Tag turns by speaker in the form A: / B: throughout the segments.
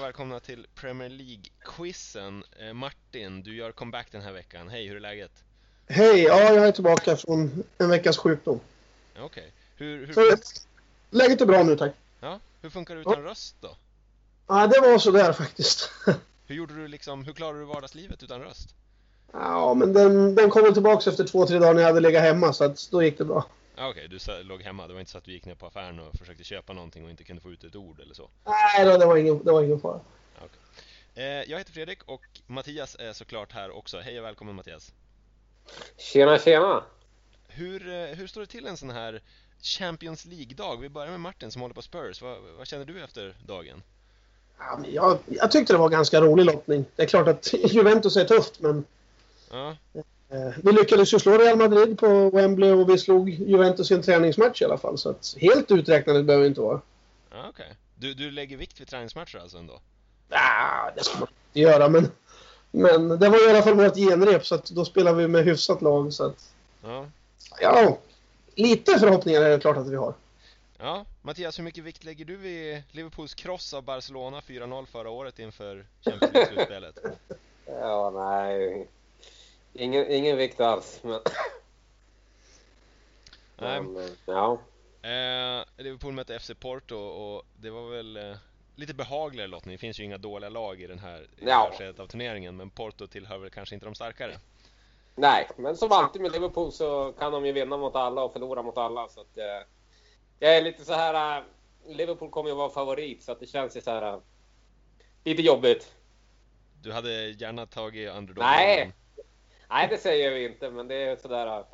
A: välkomna till Premier League-quizen. Eh, Martin, du gör comeback den här veckan. Hej, hur är läget?
B: Hej! Ja, jag är tillbaka från en veckas sjukdom.
A: Ja, Okej. Hur, hur,
B: Så, läget är bra nu, tack.
A: ja, hur funkar det utan röst då?
B: Ja, det var sådär faktiskt.
A: Hur gjorde du liksom, hur klarade du vardagslivet utan röst?
B: Ja, men den, den kom väl tillbaka efter två, tre dagar när jag hade legat hemma, så att då gick det bra.
A: Ja, Okej, du sa- låg hemma. Det var inte så att du gick ner på affären och försökte köpa någonting och inte kunde få ut ett ord eller så?
B: Nej då, det var ingen, det var ingen fara.
A: Eh, jag heter Fredrik och Mattias är såklart här också. Hej och välkommen Mattias!
C: Tjena, tjena!
A: Hur, eh, hur står det till en sån här Champions League-dag? Vi börjar med Martin som håller på Spurs. Vad, vad känner du efter dagen?
B: Ja, men jag, jag tyckte det var ganska rolig lottning. Det är klart att Juventus är tufft, men
A: Ja,
B: eh, vi lyckades ju slå Real Madrid på Wembley och vi slog Juventus i en träningsmatch i alla fall. Så att helt uträknade behöver vi inte vara.
A: ja okej. Du, du lägger vikt vid träningsmatcher alltså ändå?
B: Ah, det ska man inte göra, men, men det var i alla fall vårt genrep, så att då spelade vi med hyfsat lag. Så att,
A: Ja.
B: Ja, lite förhoppningar är det klart att vi har.
A: ja. Mattias, hur mycket vikt lägger du vid Liverpools kross av Barcelona 4-0 förra året inför Champions League-slutspelet?
C: Ja, nej. Ingen, ingen vikt alls. Men,
A: Nej,
C: men eh, ja.
A: Eh, Liverpool mötte FC Porto och det var väl eh, lite behagligare lottning. Det finns ju inga dåliga lag i den här i det här
C: Ja.
A: skedet av turneringen, men Porto tillhör väl kanske inte de starkare.
C: nej, men som alltid med Liverpool så kan de ju vinna mot alla och förlora mot alla. Så att, eh, jag är lite så här... eh, Liverpool kommer ju vara favorit, så att det känns ju så här... eh, Lite jobbigt.
A: Du hade gärna tagit underdogen.
C: Nej. Nej, det säger vi inte, men det är sådär... eh,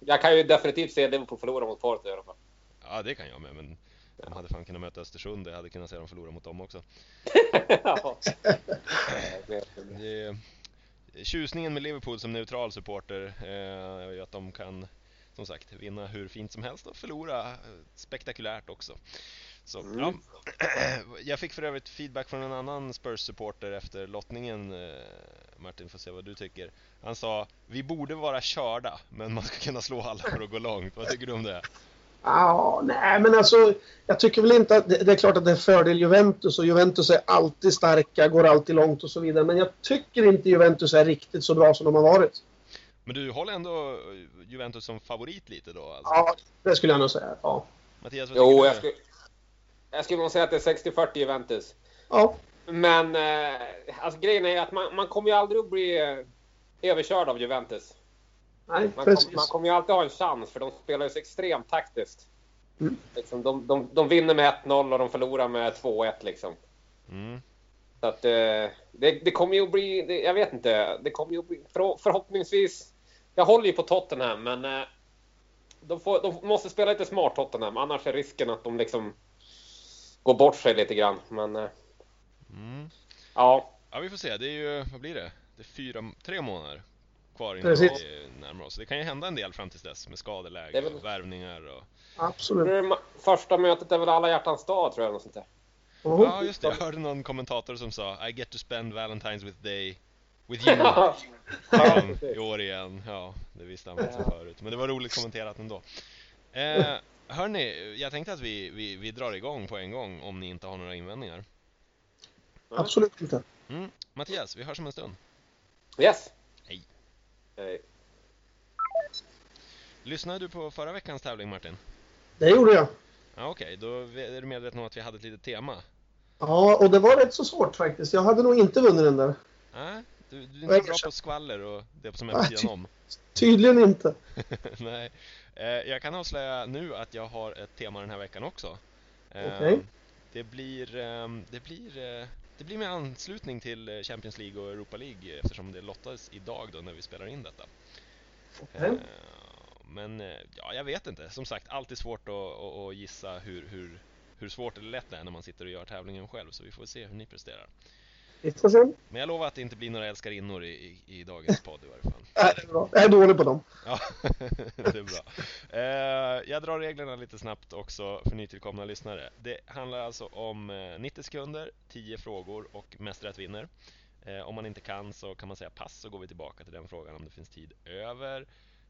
C: Jag kan ju definitivt se Liverpool förlora mot Porto i alla fall.
A: Ja, det kan jag med, men de hade fan kunnat möta Östersund och jag hade kunnat se dem förlora mot dem också.
C: ja. Det är-
A: Det, tjusningen med Liverpool som neutral supporter eh, är ju att de kan, som sagt, vinna hur fint som helst och förlora eh, spektakulärt också. Så,
C: Mm.
A: ja. Jag fick för övrigt feedback från en annan Spurs-supporter efter lottningen, eh, Martin får se vad du tycker. Han sa, vi borde vara körda, men man ska kunna slå alla för att gå långt. Vad tycker du om det?
B: Ja, nej men alltså jag tycker väl inte att det, det är klart att det är fördel Juventus och Juventus är alltid starka, går alltid långt och så vidare. Men jag tycker inte Juventus är riktigt så bra som de har varit.
A: Men du håller ändå eh, Juventus som favorit lite då? Alltså.
B: Ja, det skulle jag nog säga. Ja.
A: Mattias, vad tycker
C: Jo,
A: du?
C: jag skulle, jag skulle nog säga att det är 60-40 Juventus.
B: ja.
C: Men eh, alltså, grejen är ju att man, man kommer ju aldrig att bli eh, överkörd av Juventus.
B: Nej,
C: Man, kom,
B: precis.
C: man kommer ju alltid ha en chans för de spelar ju så extremt taktiskt.
B: Mm.
C: Liksom, de, de, de vinner med 1-0 och de förlorar med 2-1 liksom.
A: Mm.
C: Så att, eh, det, det kommer ju att bli, det, jag vet inte, det kommer ju att bli, för, förhoppningsvis, jag håller ju på Tottenham men eh, de, får, de måste spela lite smart Tottenham annars är risken att de liksom går bort sig lite grann. Men eh,
A: Mm.
C: ja,
A: Ja, vi får se. Det är ju, vad blir det? Det är fyra, tre månader kvar innan
B: Precis.
A: vi närmar oss. Det kan ju hända en del fram tills dess med
C: Det
A: skadeläge
C: är väl-
A: och värvningar och...
B: Absolut.
C: det är ma- första mötet är väl alla hjärtans dag tror jag. Något sånt där.
B: Mhm.
A: Ja, just det. Jag hörde någon kommentator som sa I get to spend Valentine's with day with you um, i år igen. Ja, det visste han väl sedan förut. Men det var roligt kommenterat ändå. Eh, hörni, jag tänkte att vi, vi, vi drar igång på en gång om ni inte har några invändningar.
B: Absolut inte.
A: Mm. Mattias, vi hörs om en stund.
C: yes!
A: Hej.
C: Hej.
A: Lyssnade du på förra veckans tävling Martin?
B: Det gjorde jag.
A: Ja, Okej, då är du medveten om att vi hade ett litet tema.
B: Ja, och det var rätt så svårt faktiskt. Jag hade nog inte vunnit den där.
A: Nej, du, du är inte så
B: Nej,
A: bra
B: kanske.
A: på skvaller och det som är
B: Nej,
A: på sidan om.
B: Tydligen inte.
A: Nej. Eh, jag kan avslöja nu att jag har ett tema den här veckan också. Eh,
B: Okej.
A: Det blir, ehm, det blir, eh, det blir med anslutning till eh, Champions League och Europa League eh, eftersom det lottades idag då när vi spelar in detta.
B: Okej.
A: Eh, Men eh, ja, jag vet inte. Som sagt, alltid svårt att, att, att gissa hur, hur, hur svårt eller lätt det är när man sitter och gör tävlingen själv. Så vi får se hur ni presterar.
B: Vi får se.
A: Men jag lovar att det inte blir några älskarinnor i, i, i dagens podd i varje fall.
B: Nej, det är bra. Jag är dålig på dem.
A: Ja, det är bra. Eh, jag drar reglerna lite snabbt också för nytillkomna lyssnare. Det handlar alltså om eh, 90 sekunder, 10 frågor och mest rätt vinner. Eh, om man inte kan så kan man säga pass så går vi tillbaka till den frågan om det finns tid över.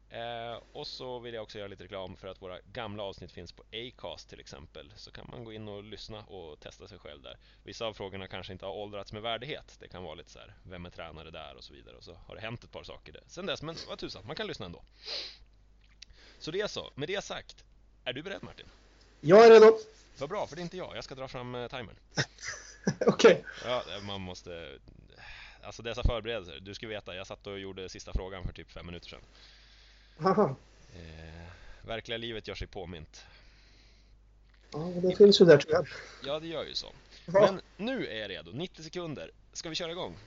A: Eh, och så vill jag också göra lite reklam för att våra gamla avsnitt finns på Acast till exempel. Så kan man gå in och lyssna och testa sig själv där. Vissa av frågorna kanske inte har åldrats med värdighet. Det kan vara lite så här, vem är tränare där och så vidare. Och så har det hänt ett par saker där. sen dess, men vad tusan, man kan lyssna ändå. Så det är så, med det sagt. Är du beredd Martin?
B: Jag är redo.
A: Vad bra, för det är inte jag. Jag ska dra fram eh, timern.
B: Okej.
A: Ja, man måste... Alltså dessa förberedelser. Du ska veta, jag satt och gjorde sista frågan för typ fem minuter sedan.
B: Haha.
A: Eh, verkliga livet gör sig påmint.
B: Ja, det finns ju där tyvärr.
A: Ja, det gör ju så.
B: Ja.
A: Men nu är jag redo. 90 sekunder. Ska vi köra igång?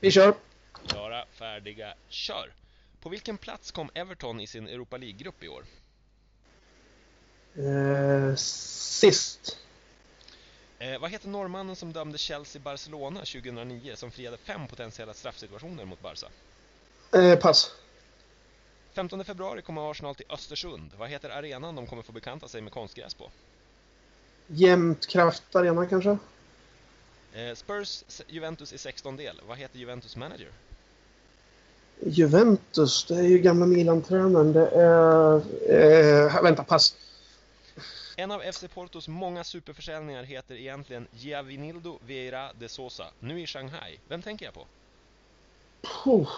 B: Vi kör.
A: Klara, färdiga, kör! På vilken plats kom Everton i sin Europa League-grupp i år?
B: Eh, sist.
A: Eh, vad heter norrmannen som dömde Chelsea-Barcelona 2009 som friade fem potentiella straffsituationer mot Barca?
B: Eh, pass.
A: 15 februari kommer Arsenal till Östersund. Vad heter arenan de kommer få bekanta sig med konstgräs på?
B: Jämnt kraft arena kanske?
A: Eh, Spurs s- Juventus i 16 del. Vad heter Juventus manager?
B: Juventus, det är ju gamla Milan-tränaren. Det är... Eh, vänta, pass.
A: En av FC Portos många superförsäljningar heter egentligen Giavinildo Vieira de Sosa, nu i Shanghai. Vem tänker jag på?
B: Puh.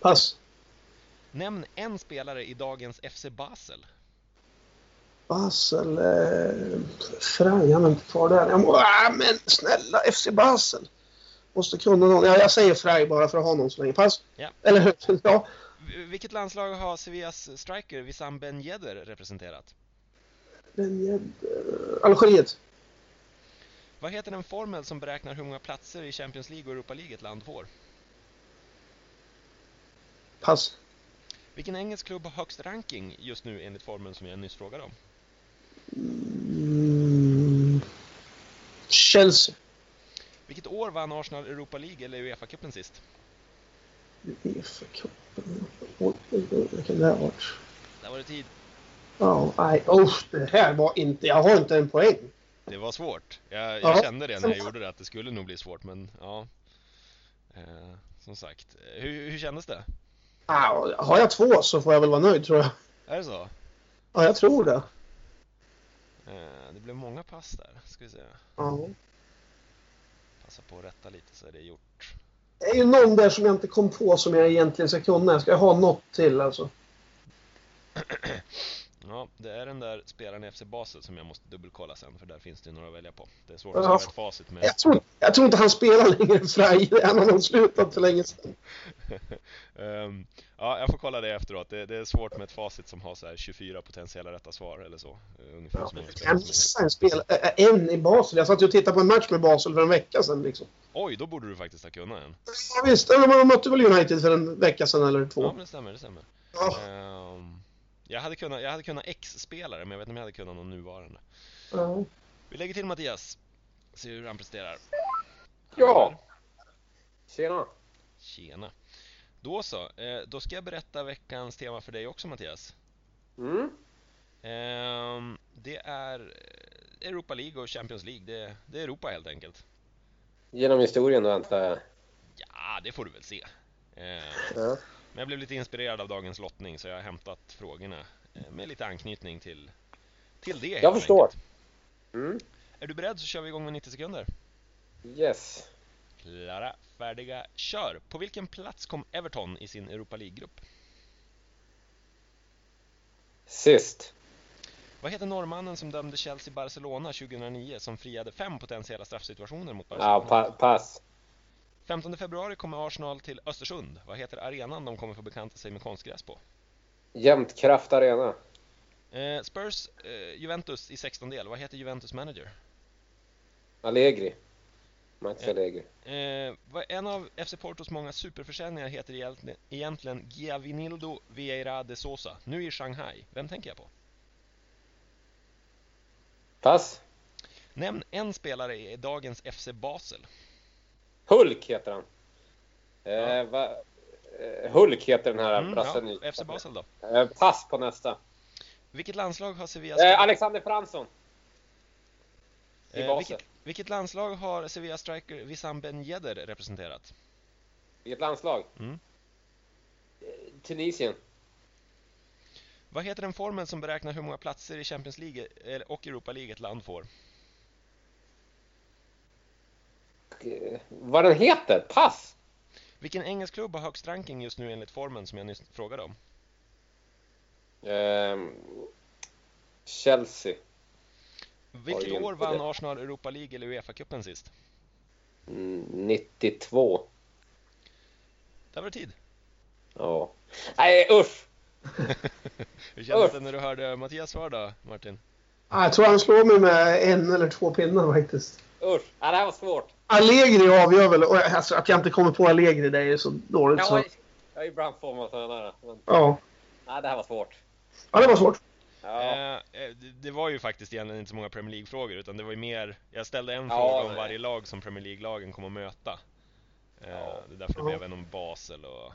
B: Pass.
A: Nämn en spelare i dagens FC Basel.
B: Basel. Eh, Frey, han är inte kvar där. Jag må, ah, men snälla, FC Basel. Måste kunna någon. Ja, jag säger Frey bara för att ha någon så länge. Pass.
A: Ja.
B: Eller hur? Ja.
A: V- vilket landslag har Sevillas striker Wissam Ben Yedder representerat?
B: Men, jag- eh, Algeriet.
A: Vad heter den formel som beräknar hur många platser i Champions League och Europa League ett land får?
B: Pass.
A: Vilken engelsk klubb har högst ranking just nu enligt formeln som jag nyss frågade om?
B: Mm. Chelsea.
A: Vilket år vann Arsenal Europa League eller Uefa-cupen sist?
B: Uefa-cupen. Oj, oj, oj, Vilken det har varit.
A: Där var det tid.
B: Ja, nej. Oh, det här var inte... Jag har inte en poäng.
A: Det var svårt. Jag,
B: Ja.
A: jag kände det när jag gjorde det, att det skulle nog bli svårt, men ja. Eh, som sagt, Eh, hur, hur kändes det?
B: Ah, har jag två så får jag väl vara nöjd tror jag.
A: Är det så?
B: Ja, jag tror det.
A: Eh, det blev många pass där, ska vi se.
B: Ja.
A: Passa på att rätta lite så är det gjort.
B: Det är ju någon där som jag inte kom på som jag egentligen ska kunna. Jag ska ha något till alltså.
A: Ja, det är den där spelaren i FC Basel som jag måste dubbelkolla sen, för där finns det ju några att välja på. Det är svårt att
B: Ja.
A: skriva ett facit med.
B: Jag tror, jag tror inte han spelar längre än Frey. Han har nog slutat för länge sedan.
A: Ehm, ja, jag får kolla det efteråt. Det, det är svårt med ett facit som har så här 24 potentiella rätta svar eller så. Eh, Ungefär
B: Ja,
A: så
B: men
A: många spelare
B: kan
A: som är.
B: missa en, spel, äh, äh, en i Basel. Jag satt ju och tittade på en match med Basel för en vecka sedan. Liksom.
A: Oj, då borde du faktiskt ha kunnat en.
B: Ja, visst, de mötte väl United för en vecka sedan eller två.
A: Ja, men det stämmer, det stämmer.
B: Ja.
C: Ah.
A: Ehm, jag hade kunnat, jag hade kunnat X-spelare, men jag vet inte om jag hade kunnat någon nuvarande.
B: Ja.
A: Vi lägger till Mattias. Se hur han presterar.
C: Ja. Tjena!
A: Tjena. Då så, eh, då ska jag berätta veckans tema för dig också Mattias.
C: Mm.
A: Ehm, det är eh, Europa League och Champions League. Det, det är Europa helt enkelt.
C: Genom historien då antar jag.
A: Ja, det får du väl se. Ehm,
C: Ja.
A: Men jag blev lite inspirerad av dagens lottning så jag har hämtat frågorna eh, med lite anknytning till, till det.
C: Jag
A: helt
C: förstår.
A: enkelt.
C: Mm.
A: Är du beredd så kör vi igång med 90 sekunder.
C: Yes.
A: Klara, färdiga, kör! På vilken plats kom Everton i sin Europa League-grupp?
C: Sist.
A: Vad heter norrmannen som dömde Chelsea-Barcelona 2009 som friade fem potentiella straffsituationer mot
C: Ja,
A: Barcelona?
C: pa pass.
A: 15 februari kommer Arsenal till Östersund. Vad heter arenan de kommer få bekanta sig med konstgräs på?
C: Jämt kraft arena.
A: Eh, Spurs, eh, Juventus i 16-del. Vad heter Juventus manager?
C: Allegri. Max Allegri.
A: Eh, vad- en av FC Portos många superförsäljningar heter egentligen- egentligen Giavinildo Vieira de Sosa, nu i Shanghai. Vem tänker jag på?
C: Pass.
A: Nämn en spelare i dagens FC Basel.
C: Hulk heter han. Eh, va, eh, Hulk heter den här
A: Mm,
C: brassen.
A: ja, FC Basel då.
C: Eh, pass på nästa.
A: Vilket landslag har Sevilla
C: Eh,
A: striker-
C: Alexander Fransson. I
A: eh,
C: Basel.
A: vilket, vilket landslag har Sevilla striker Wissam Ben Yedder representerat?
B: Mm.
C: Vilket landslag?
A: Mm.
C: Eh, Tunisien.
A: Vad heter den formen som beräknar hur många platser i Champions League eller- och Europa League ett land får?
C: Eh, Vad den heter? Pass!
A: Vilken engelsk klubb har högst ranking just nu enligt formen som jag nyss frågade om?
C: Ehm, Chelsea.
A: Vilket
C: Oj, inte
A: år vann
C: det.
A: Arsenal Europa League eller Uefa-cupen sist?
C: Mm, 92.
A: Där var det tid!
C: Ja. Nej usch!
A: Hur kändes
C: Uff.
A: det när du hörde Mattias svar då, Martin?
B: Ja, jag tror han slår mig med en eller två pinnar faktiskt.
C: Usch! Ja, det här var svårt.
B: Allegri avgör väl. Och, alltså, att jag inte kommer på Allegri, det är ju så dåligt så.
C: Jag, jag är ibland får man sådana där. Men,
B: Ja.
C: nej, det här var svårt. Ehm,
B: ja, det var svårt.
C: Ja.
A: Eh, eh, det- det var ju faktiskt egentligen inte så många Premier League-frågor utan det var ju mer, jag ställde en
C: Ja,
A: fråga om
C: nej.
A: varje lag som Premier League-lagen kommer att möta. Eh,
C: Ja.
A: Det är därför det
B: Ja.
A: blev en om Basel och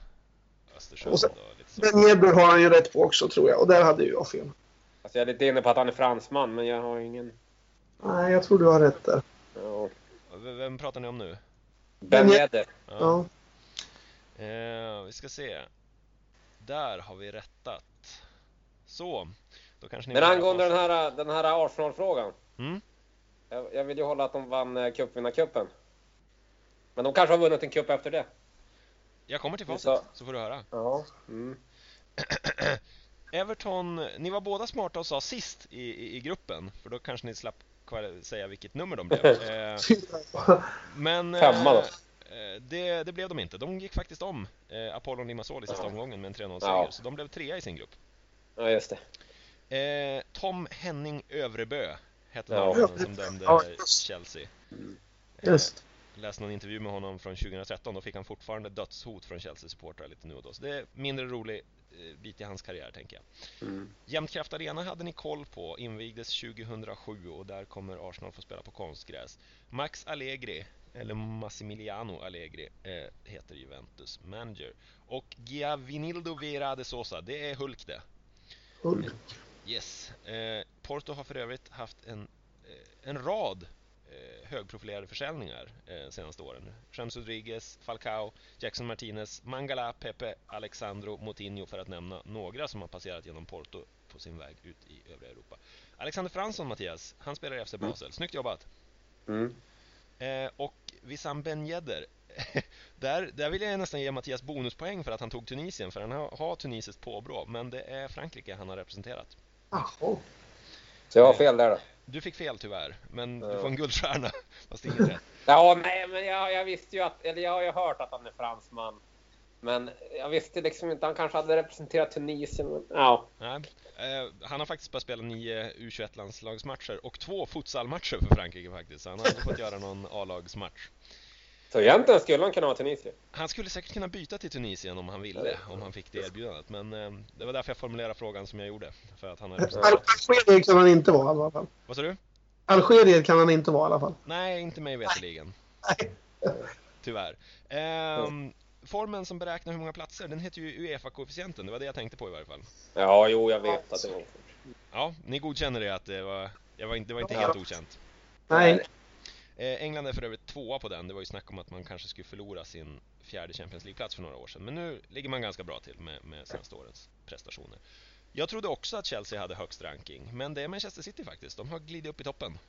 A: Östersund och,
B: Och sen-
A: lite så.
B: Den Ebber har han ju rätt på också tror jag. Och där hade ju jag fel.
C: Alltså, jag är lite inne på att han är fransman, men jag har ingen...
B: Nej, jag tror du har rätt där.
C: Ja.
A: V- Vem pratar ni om nu?
C: Ben
B: Men jag-
C: Yedder.
A: Ja.
B: Ja.
A: Eh, vi ska se. Där har vi rättat. Så, då kanske ni
C: Men
A: vill
C: angående
A: ha-
C: den här, den här Arsenal-frågan.
A: Mm.
C: Jag, jag vill ju hålla att de vann eh, cupvinnarcupen. Men de kanske har vunnit en cup efter det.
A: Jag kommer till
C: Vi
A: facit,
C: sa-
A: så får du höra.
C: Ja. Mm.
A: Everton, ni var båda smarta och sa sist i, i, i gruppen, för då kanske ni slapp kvar- säga vilket nummer de blev. Eh, men eh,
C: Femma då.
A: eh, det, det blev de inte. De gick faktiskt om eh, Apollon Limassol i sista
C: Ja.
A: omgången med en 3-0-seger,
C: Ja.
A: så de blev trea i sin grupp.
C: Ja, just det.
A: Eh, Tom Henning Övrebö hette
C: Ja.
A: norrmannen som dömde
B: Ja.
A: Chelsea. Eh,
B: Just.
A: läste någon intervju med honom från 2013, då fick han fortfarande dödshot från Chelsea-supportrar lite nu och då. Så det är mindre rolig eh, bit i hans karriär, tänker jag.
C: Mm.
A: Jämtkraft Arena hade ni koll på, invigdes 2007 och där kommer Arsenal få spela på konstgräs. Max Allegri, eller Massimiliano Allegri, eh, heter Juventus manager. Och Giavinildo Vera de Sosa, det är Hulk det.
B: Hull.
A: Yes. Eh, Porto har för övrigt haft en, eh, en rad eh, högprofilerade försäljningar eh, senaste åren. James Rodriguez, Falcao, Jackson Martinez, Mangala, Pepe, Alexandro, Moutinho för att nämna några som har passerat genom Porto på sin väg ut i övriga Europa. Alexander Fransson, Mattias, han spelar i FC Basel. Snyggt jobbat!
C: Mm.
A: Eh, och Wissam Ben Yedder, där, där vill jag nästan ge Mattias bonuspoäng för att han tog Tunisien, för han har, har tunisiskt påbrå, men det är Frankrike han har representerat.
B: Jaha.
C: Så jag har fel där då.
A: Du fick fel tyvärr, men du
C: Ja.
A: får en guldstjärna. Fast inget rätt.
C: Ja, nej, men jag, jag visste ju att... Eller jag har ju hört att han är fransman. Men jag visste liksom inte. Han kanske hade representerat Tunisien. Men, ja.
A: Nej. Eh, han har faktiskt bara spelat nio U21-landslagsmatcher och två futsalmatcher för Frankrike faktiskt, så han har inte fått göra någon A-lagsmatch.
C: Så egentligen skulle han kunna vara Tunisien.
A: Han skulle säkert kunna byta till Tunisien om han ville, om han fick det erbjudandet, men eh, det var därför jag formulerade frågan som jag gjorde. För att han har
B: Al-
A: representerat...
B: Algerier kan han inte vara i alla fall.
A: Vad sa du?
B: Algerier kan han inte vara i alla fall.
A: Nej, inte mig veterligen.
B: Nej.
A: Tyvärr. Ehm, formen som beräknar hur många platser, den heter ju Uefa-koefficienten, det var det jag tänkte på i varje fall.
C: Ja, jo, jag vet att det var...
A: Ja, ni godkänner det att det var, jag var inte, det var inte
B: Ja.
A: helt okänt.
B: Nej.
A: Eh, England är för övrigt tvåa på den. Det var ju snack om att man kanske skulle förlora sin fjärde Champions League-plats för några år sedan. Men nu ligger man ganska bra till med, med senaste årets prestationer. Jag trodde också att Chelsea hade högst ranking, men det är Manchester City faktiskt. De har glidit upp i toppen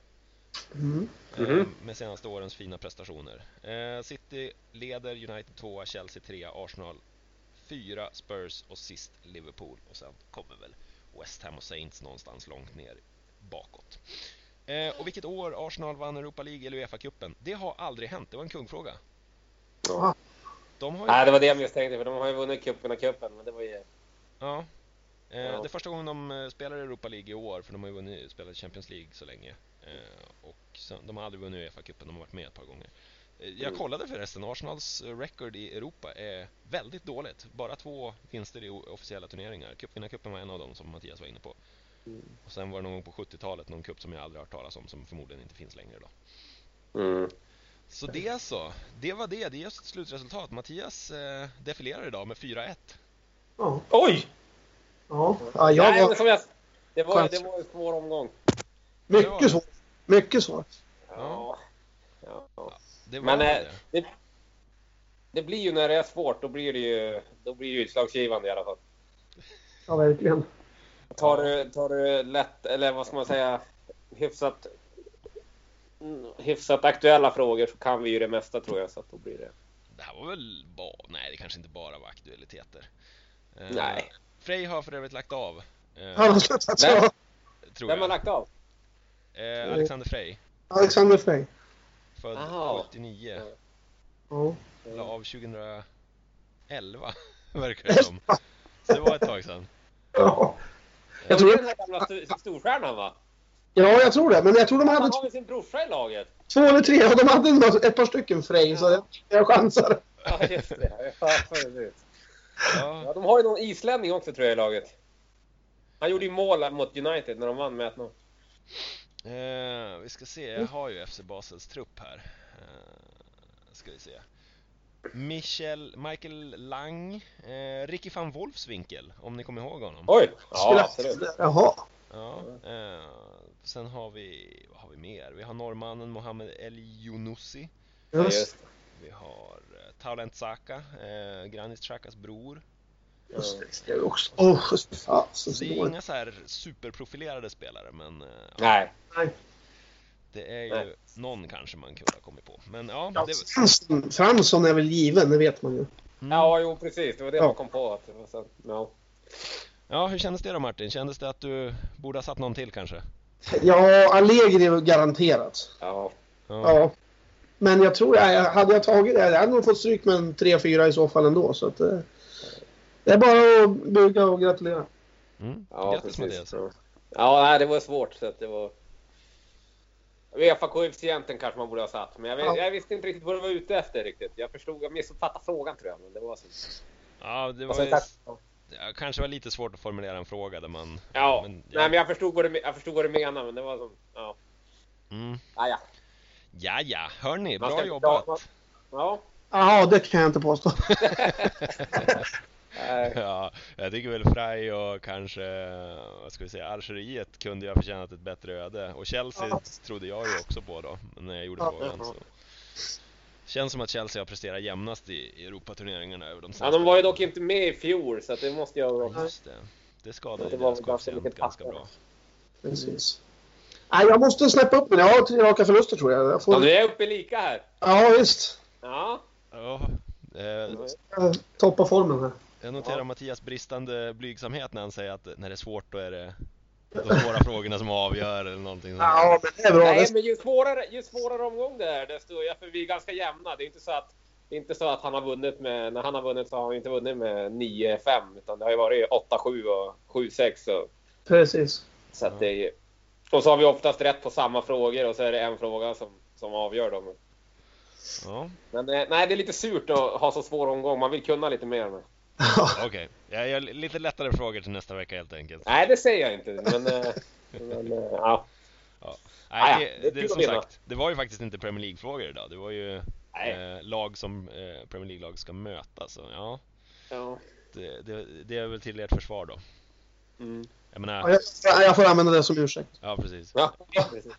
B: Mm.
A: eh,
C: Mhm.
A: med senaste årens fina prestationer. Eh, City leder, United tvåa, Chelsea trea, Arsenal fyra, Spurs och sist Liverpool. Och sen kommer väl West Ham och Saints någonstans långt ner bakåt. Eh, och vilket år Arsenal vann Europa League eller Uefa-cupen? Det har aldrig hänt, det var en kungfråga.
B: Ja.
A: De har ju...
C: Nej, det var det jag misstänkte. För de har ju vunnit cupen, men det var ju...
A: Ja. Eh,
C: Ja.
A: Det är första gången de eh, spelar i Europa League i år, för de har ju vunnit, spelat Champions League så länge. Eh, och sen, de har aldrig vunnit Uefa-cupen, de har varit med ett par gånger. Eh, Jag
C: Mm.
A: kollade förresten, Arsenals eh, record i Europa är väldigt dåligt. Bara två vinster i o- officiella turneringar. Cupvinnarcupen var en av dem som Mattias var inne på.
C: Mm.
A: Och sen var det någon gång på 70-talet, någon cup som jag aldrig har hört talas om, som förmodligen inte finns längre idag.
C: Mm.
A: Så det så, det var det, det är just slutresultat. Mattias eh, defilerar idag med 4-1.
B: Ja.
C: Oj!
B: Ja. ja,
C: Nej,
B: jag
C: men
B: var
C: som jag, det, var,
B: Kanske.
C: det var en svår omgång.
B: mycket svår. Mycket svår.
A: Ja.
C: Ja.
A: Det var
C: Men eh,
A: det.
C: det, det blir ju när det är svårt, då blir det ju, då blir det ju utslagsgivande i alla fall.
B: Ja, verkligen.
C: Tar du, tar du lätt, eller vad ska man säga, hyfsat, mm, hyfsat aktuella frågor så kan vi ju det mesta tror jag. Så att då blir det.
A: Det här var väl bara... Nej, det kanske inte bara var aktualiteter. Eh,
C: Nej.
A: Frej har för övrigt lagt av. eh,
B: Han har slutat så.
A: tror
C: Vem har
A: jag.
C: lagt av?
A: Eh, Alexander Frej.
B: Alexander Frey.
A: Född
C: Aha.
A: 79.
B: Ja.
A: La av 2011. Verkar det som. Så det var ett tag sedan.
B: Ja. Jag
C: Det
B: tror
C: var
B: jag,
C: den här gamla st- storstjärnan va?
B: ja, jag tror det. Men jag tror de
C: Han
B: hade
C: har väl sin brorsa i laget?
B: två eller tre. Och de hade något- ett par stycken Frey. Så jag, jag chansar.
C: Ja, just det. Ja, precis.
A: Ja,
C: Ja, de har ju någon islänning också tror jag i laget. Han gjorde ju mål mot United när de vann med 1-0.
A: eh, vi ska se, jag har ju FC Basels trupp här. Eh, ska vi se. Michel, Michael Lang, eh, Ricky van Wolfswinkel, om ni kommer ihåg honom.
C: Oj!
B: Skulle-
C: Ja, absolut.
B: Jaha.
A: Ja, eh, sen har vi, vad har vi mer? Vi har norrmannen Mohamed El Younousi.
C: Ja,
B: Just.
C: just.
A: Vi har eh, Talent Saka, eh, Granit Xhakas bror.
C: Ja.
B: Just det. Det är också... Åh, just fasen så
A: Det är
B: dåligt.
A: inga så här superprofilerade spelare, men eh, ja,
C: Nej.
A: det är ju
C: Nej.
A: någon kanske man kunde ha kommit på. Men ja,
B: Ja,
A: det,
B: Fransson, Fransson är väl given, det vet man ju.
A: mm.
C: Ja, jo precis. Det var det
B: Ja.
C: man kom på. Att det var så. Ja.
A: ja, hur kändes det då Martin? Kändes det att du borde ha satt någon till kanske?
B: Ja, Allegri är väl garanterat.
C: Ja.
A: Ja.
B: Ja. Men jag tror, nej, hade jag tagit det, jag hade nog fått stryk med en 3-4 i så fall ändå. Så att, eh, det är bara att buga och gratulera.
A: Mm.
C: Ja,
A: Grattis Mattias!
C: precis. Ja, ja nej, det var svårt. Så att det var... Uefa-koefficienten kanske man borde ha satt, men jag, vet,
B: Ja.
C: jag visste inte riktigt vad du var ute efter riktigt. Jag förstod, jag missuppfattade frågan tror jag. Men det var så.
A: Ja, det var
C: Alltså,
A: ju,
C: tack.
A: ja, kanske var lite svårt att formulera en fråga där man...
C: Ja,
A: men-
C: nej men jag förstod vad du, jag förstod vad du menade, men det var som, ja.
A: Mm.
C: Ah, ja.
A: Ja, ja, hörni,
C: Man
A: bra
C: ska-
A: jobbat!
C: ja, ja.
B: Jaha, det kan jag inte påstå.
C: Nej.
A: Ja, jag tycker väl Frey och kanske, vad ska vi säga, Algeriet kunde ju ha förtjänat ett bättre öde. Och Chelsea
B: Ja.
A: trodde jag ju också på då, när jag gjorde
B: Ja,
A: frågan.
C: ja.
A: Så. Känns som att Chelsea har presterat jämnast i Europaturneringarna över de senaste
C: Ja, de var ju dock inte med i fjol, så att det måste jag vara...
A: åren. Just det. Det skadade
C: Det
A: ju
C: var
A: deras
C: väl ganska
A: koefficient
C: mycket
A: ganska
C: tappar.
A: bra.
B: Precis. Nej, jag måste snäppa upp mig. Jag har tre raka förluster tror jag. jag
C: Ja,
B: får...
C: du är uppe i lika här.
B: Ja, visst.
C: Ja.
A: Ja, eh,
B: Jag toppar formen här.
A: jag noterar
C: Ja.
A: Mattias bristande blygsamhet när han säger att när det är svårt då är det de svåra frågorna som avgör eller någonting sånt.
B: Ja, men det är bra.
C: Nej,
B: Det-
C: men ju svårare, ju svårare omgång det är, desto... Ja, för vi är ganska jämna. Det är inte så att... Det är inte så att han har vunnit med... När han har vunnit så har han inte vunnit med 9-5, utan det har ju varit 8-7 och 7-6. Och,
B: Precis.
C: så
A: Ja.
C: att det är ju... Och så har vi oftast rätt på samma frågor och så är det en fråga som, som avgör dem.
A: Ja,
C: Men eh, nej, det är lite surt att ha så svår omgång. Man vill kunna lite mer. Men...
A: okej. Jag gör lite lättare frågor till nästa vecka helt enkelt.
C: Nej, det säger jag inte. Men, eh, men eh, ja. Ah, ja.
A: Nej, det,
C: Det är
A: det,
C: kul
A: som
C: att vinna.
A: sagt, det var ju faktiskt inte Premier League-frågor idag. Det var ju
C: Nej.
A: eh, lag som eh, Premier League-lag ska möta. Så ja,
C: Ja.
A: det, det, det är väl till ert försvar då.
C: Mm.
A: Jag
B: Ja,
A: menar,
B: Jag, ja, jag får använda det som ursäkt.
A: ja precis.
C: ja. precis.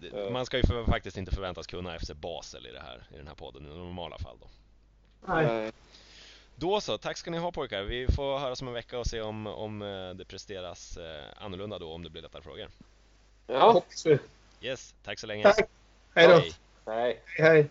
A: Det- Man ska ju för, faktiskt inte förväntas kunna FC Basel i, det här, i den här podden i normala fall då.
B: Nej.
A: Då så, tack ska ni ha pojkar. Vi får höras om en vecka och se om, om eh, det presteras eh, annorlunda då, om det blir lättare frågor.
C: Ja.
B: Hoppas vi.
A: Yes, tack så länge.
B: Tack. Hej då.
A: Hej.
C: Nej.
B: Hej.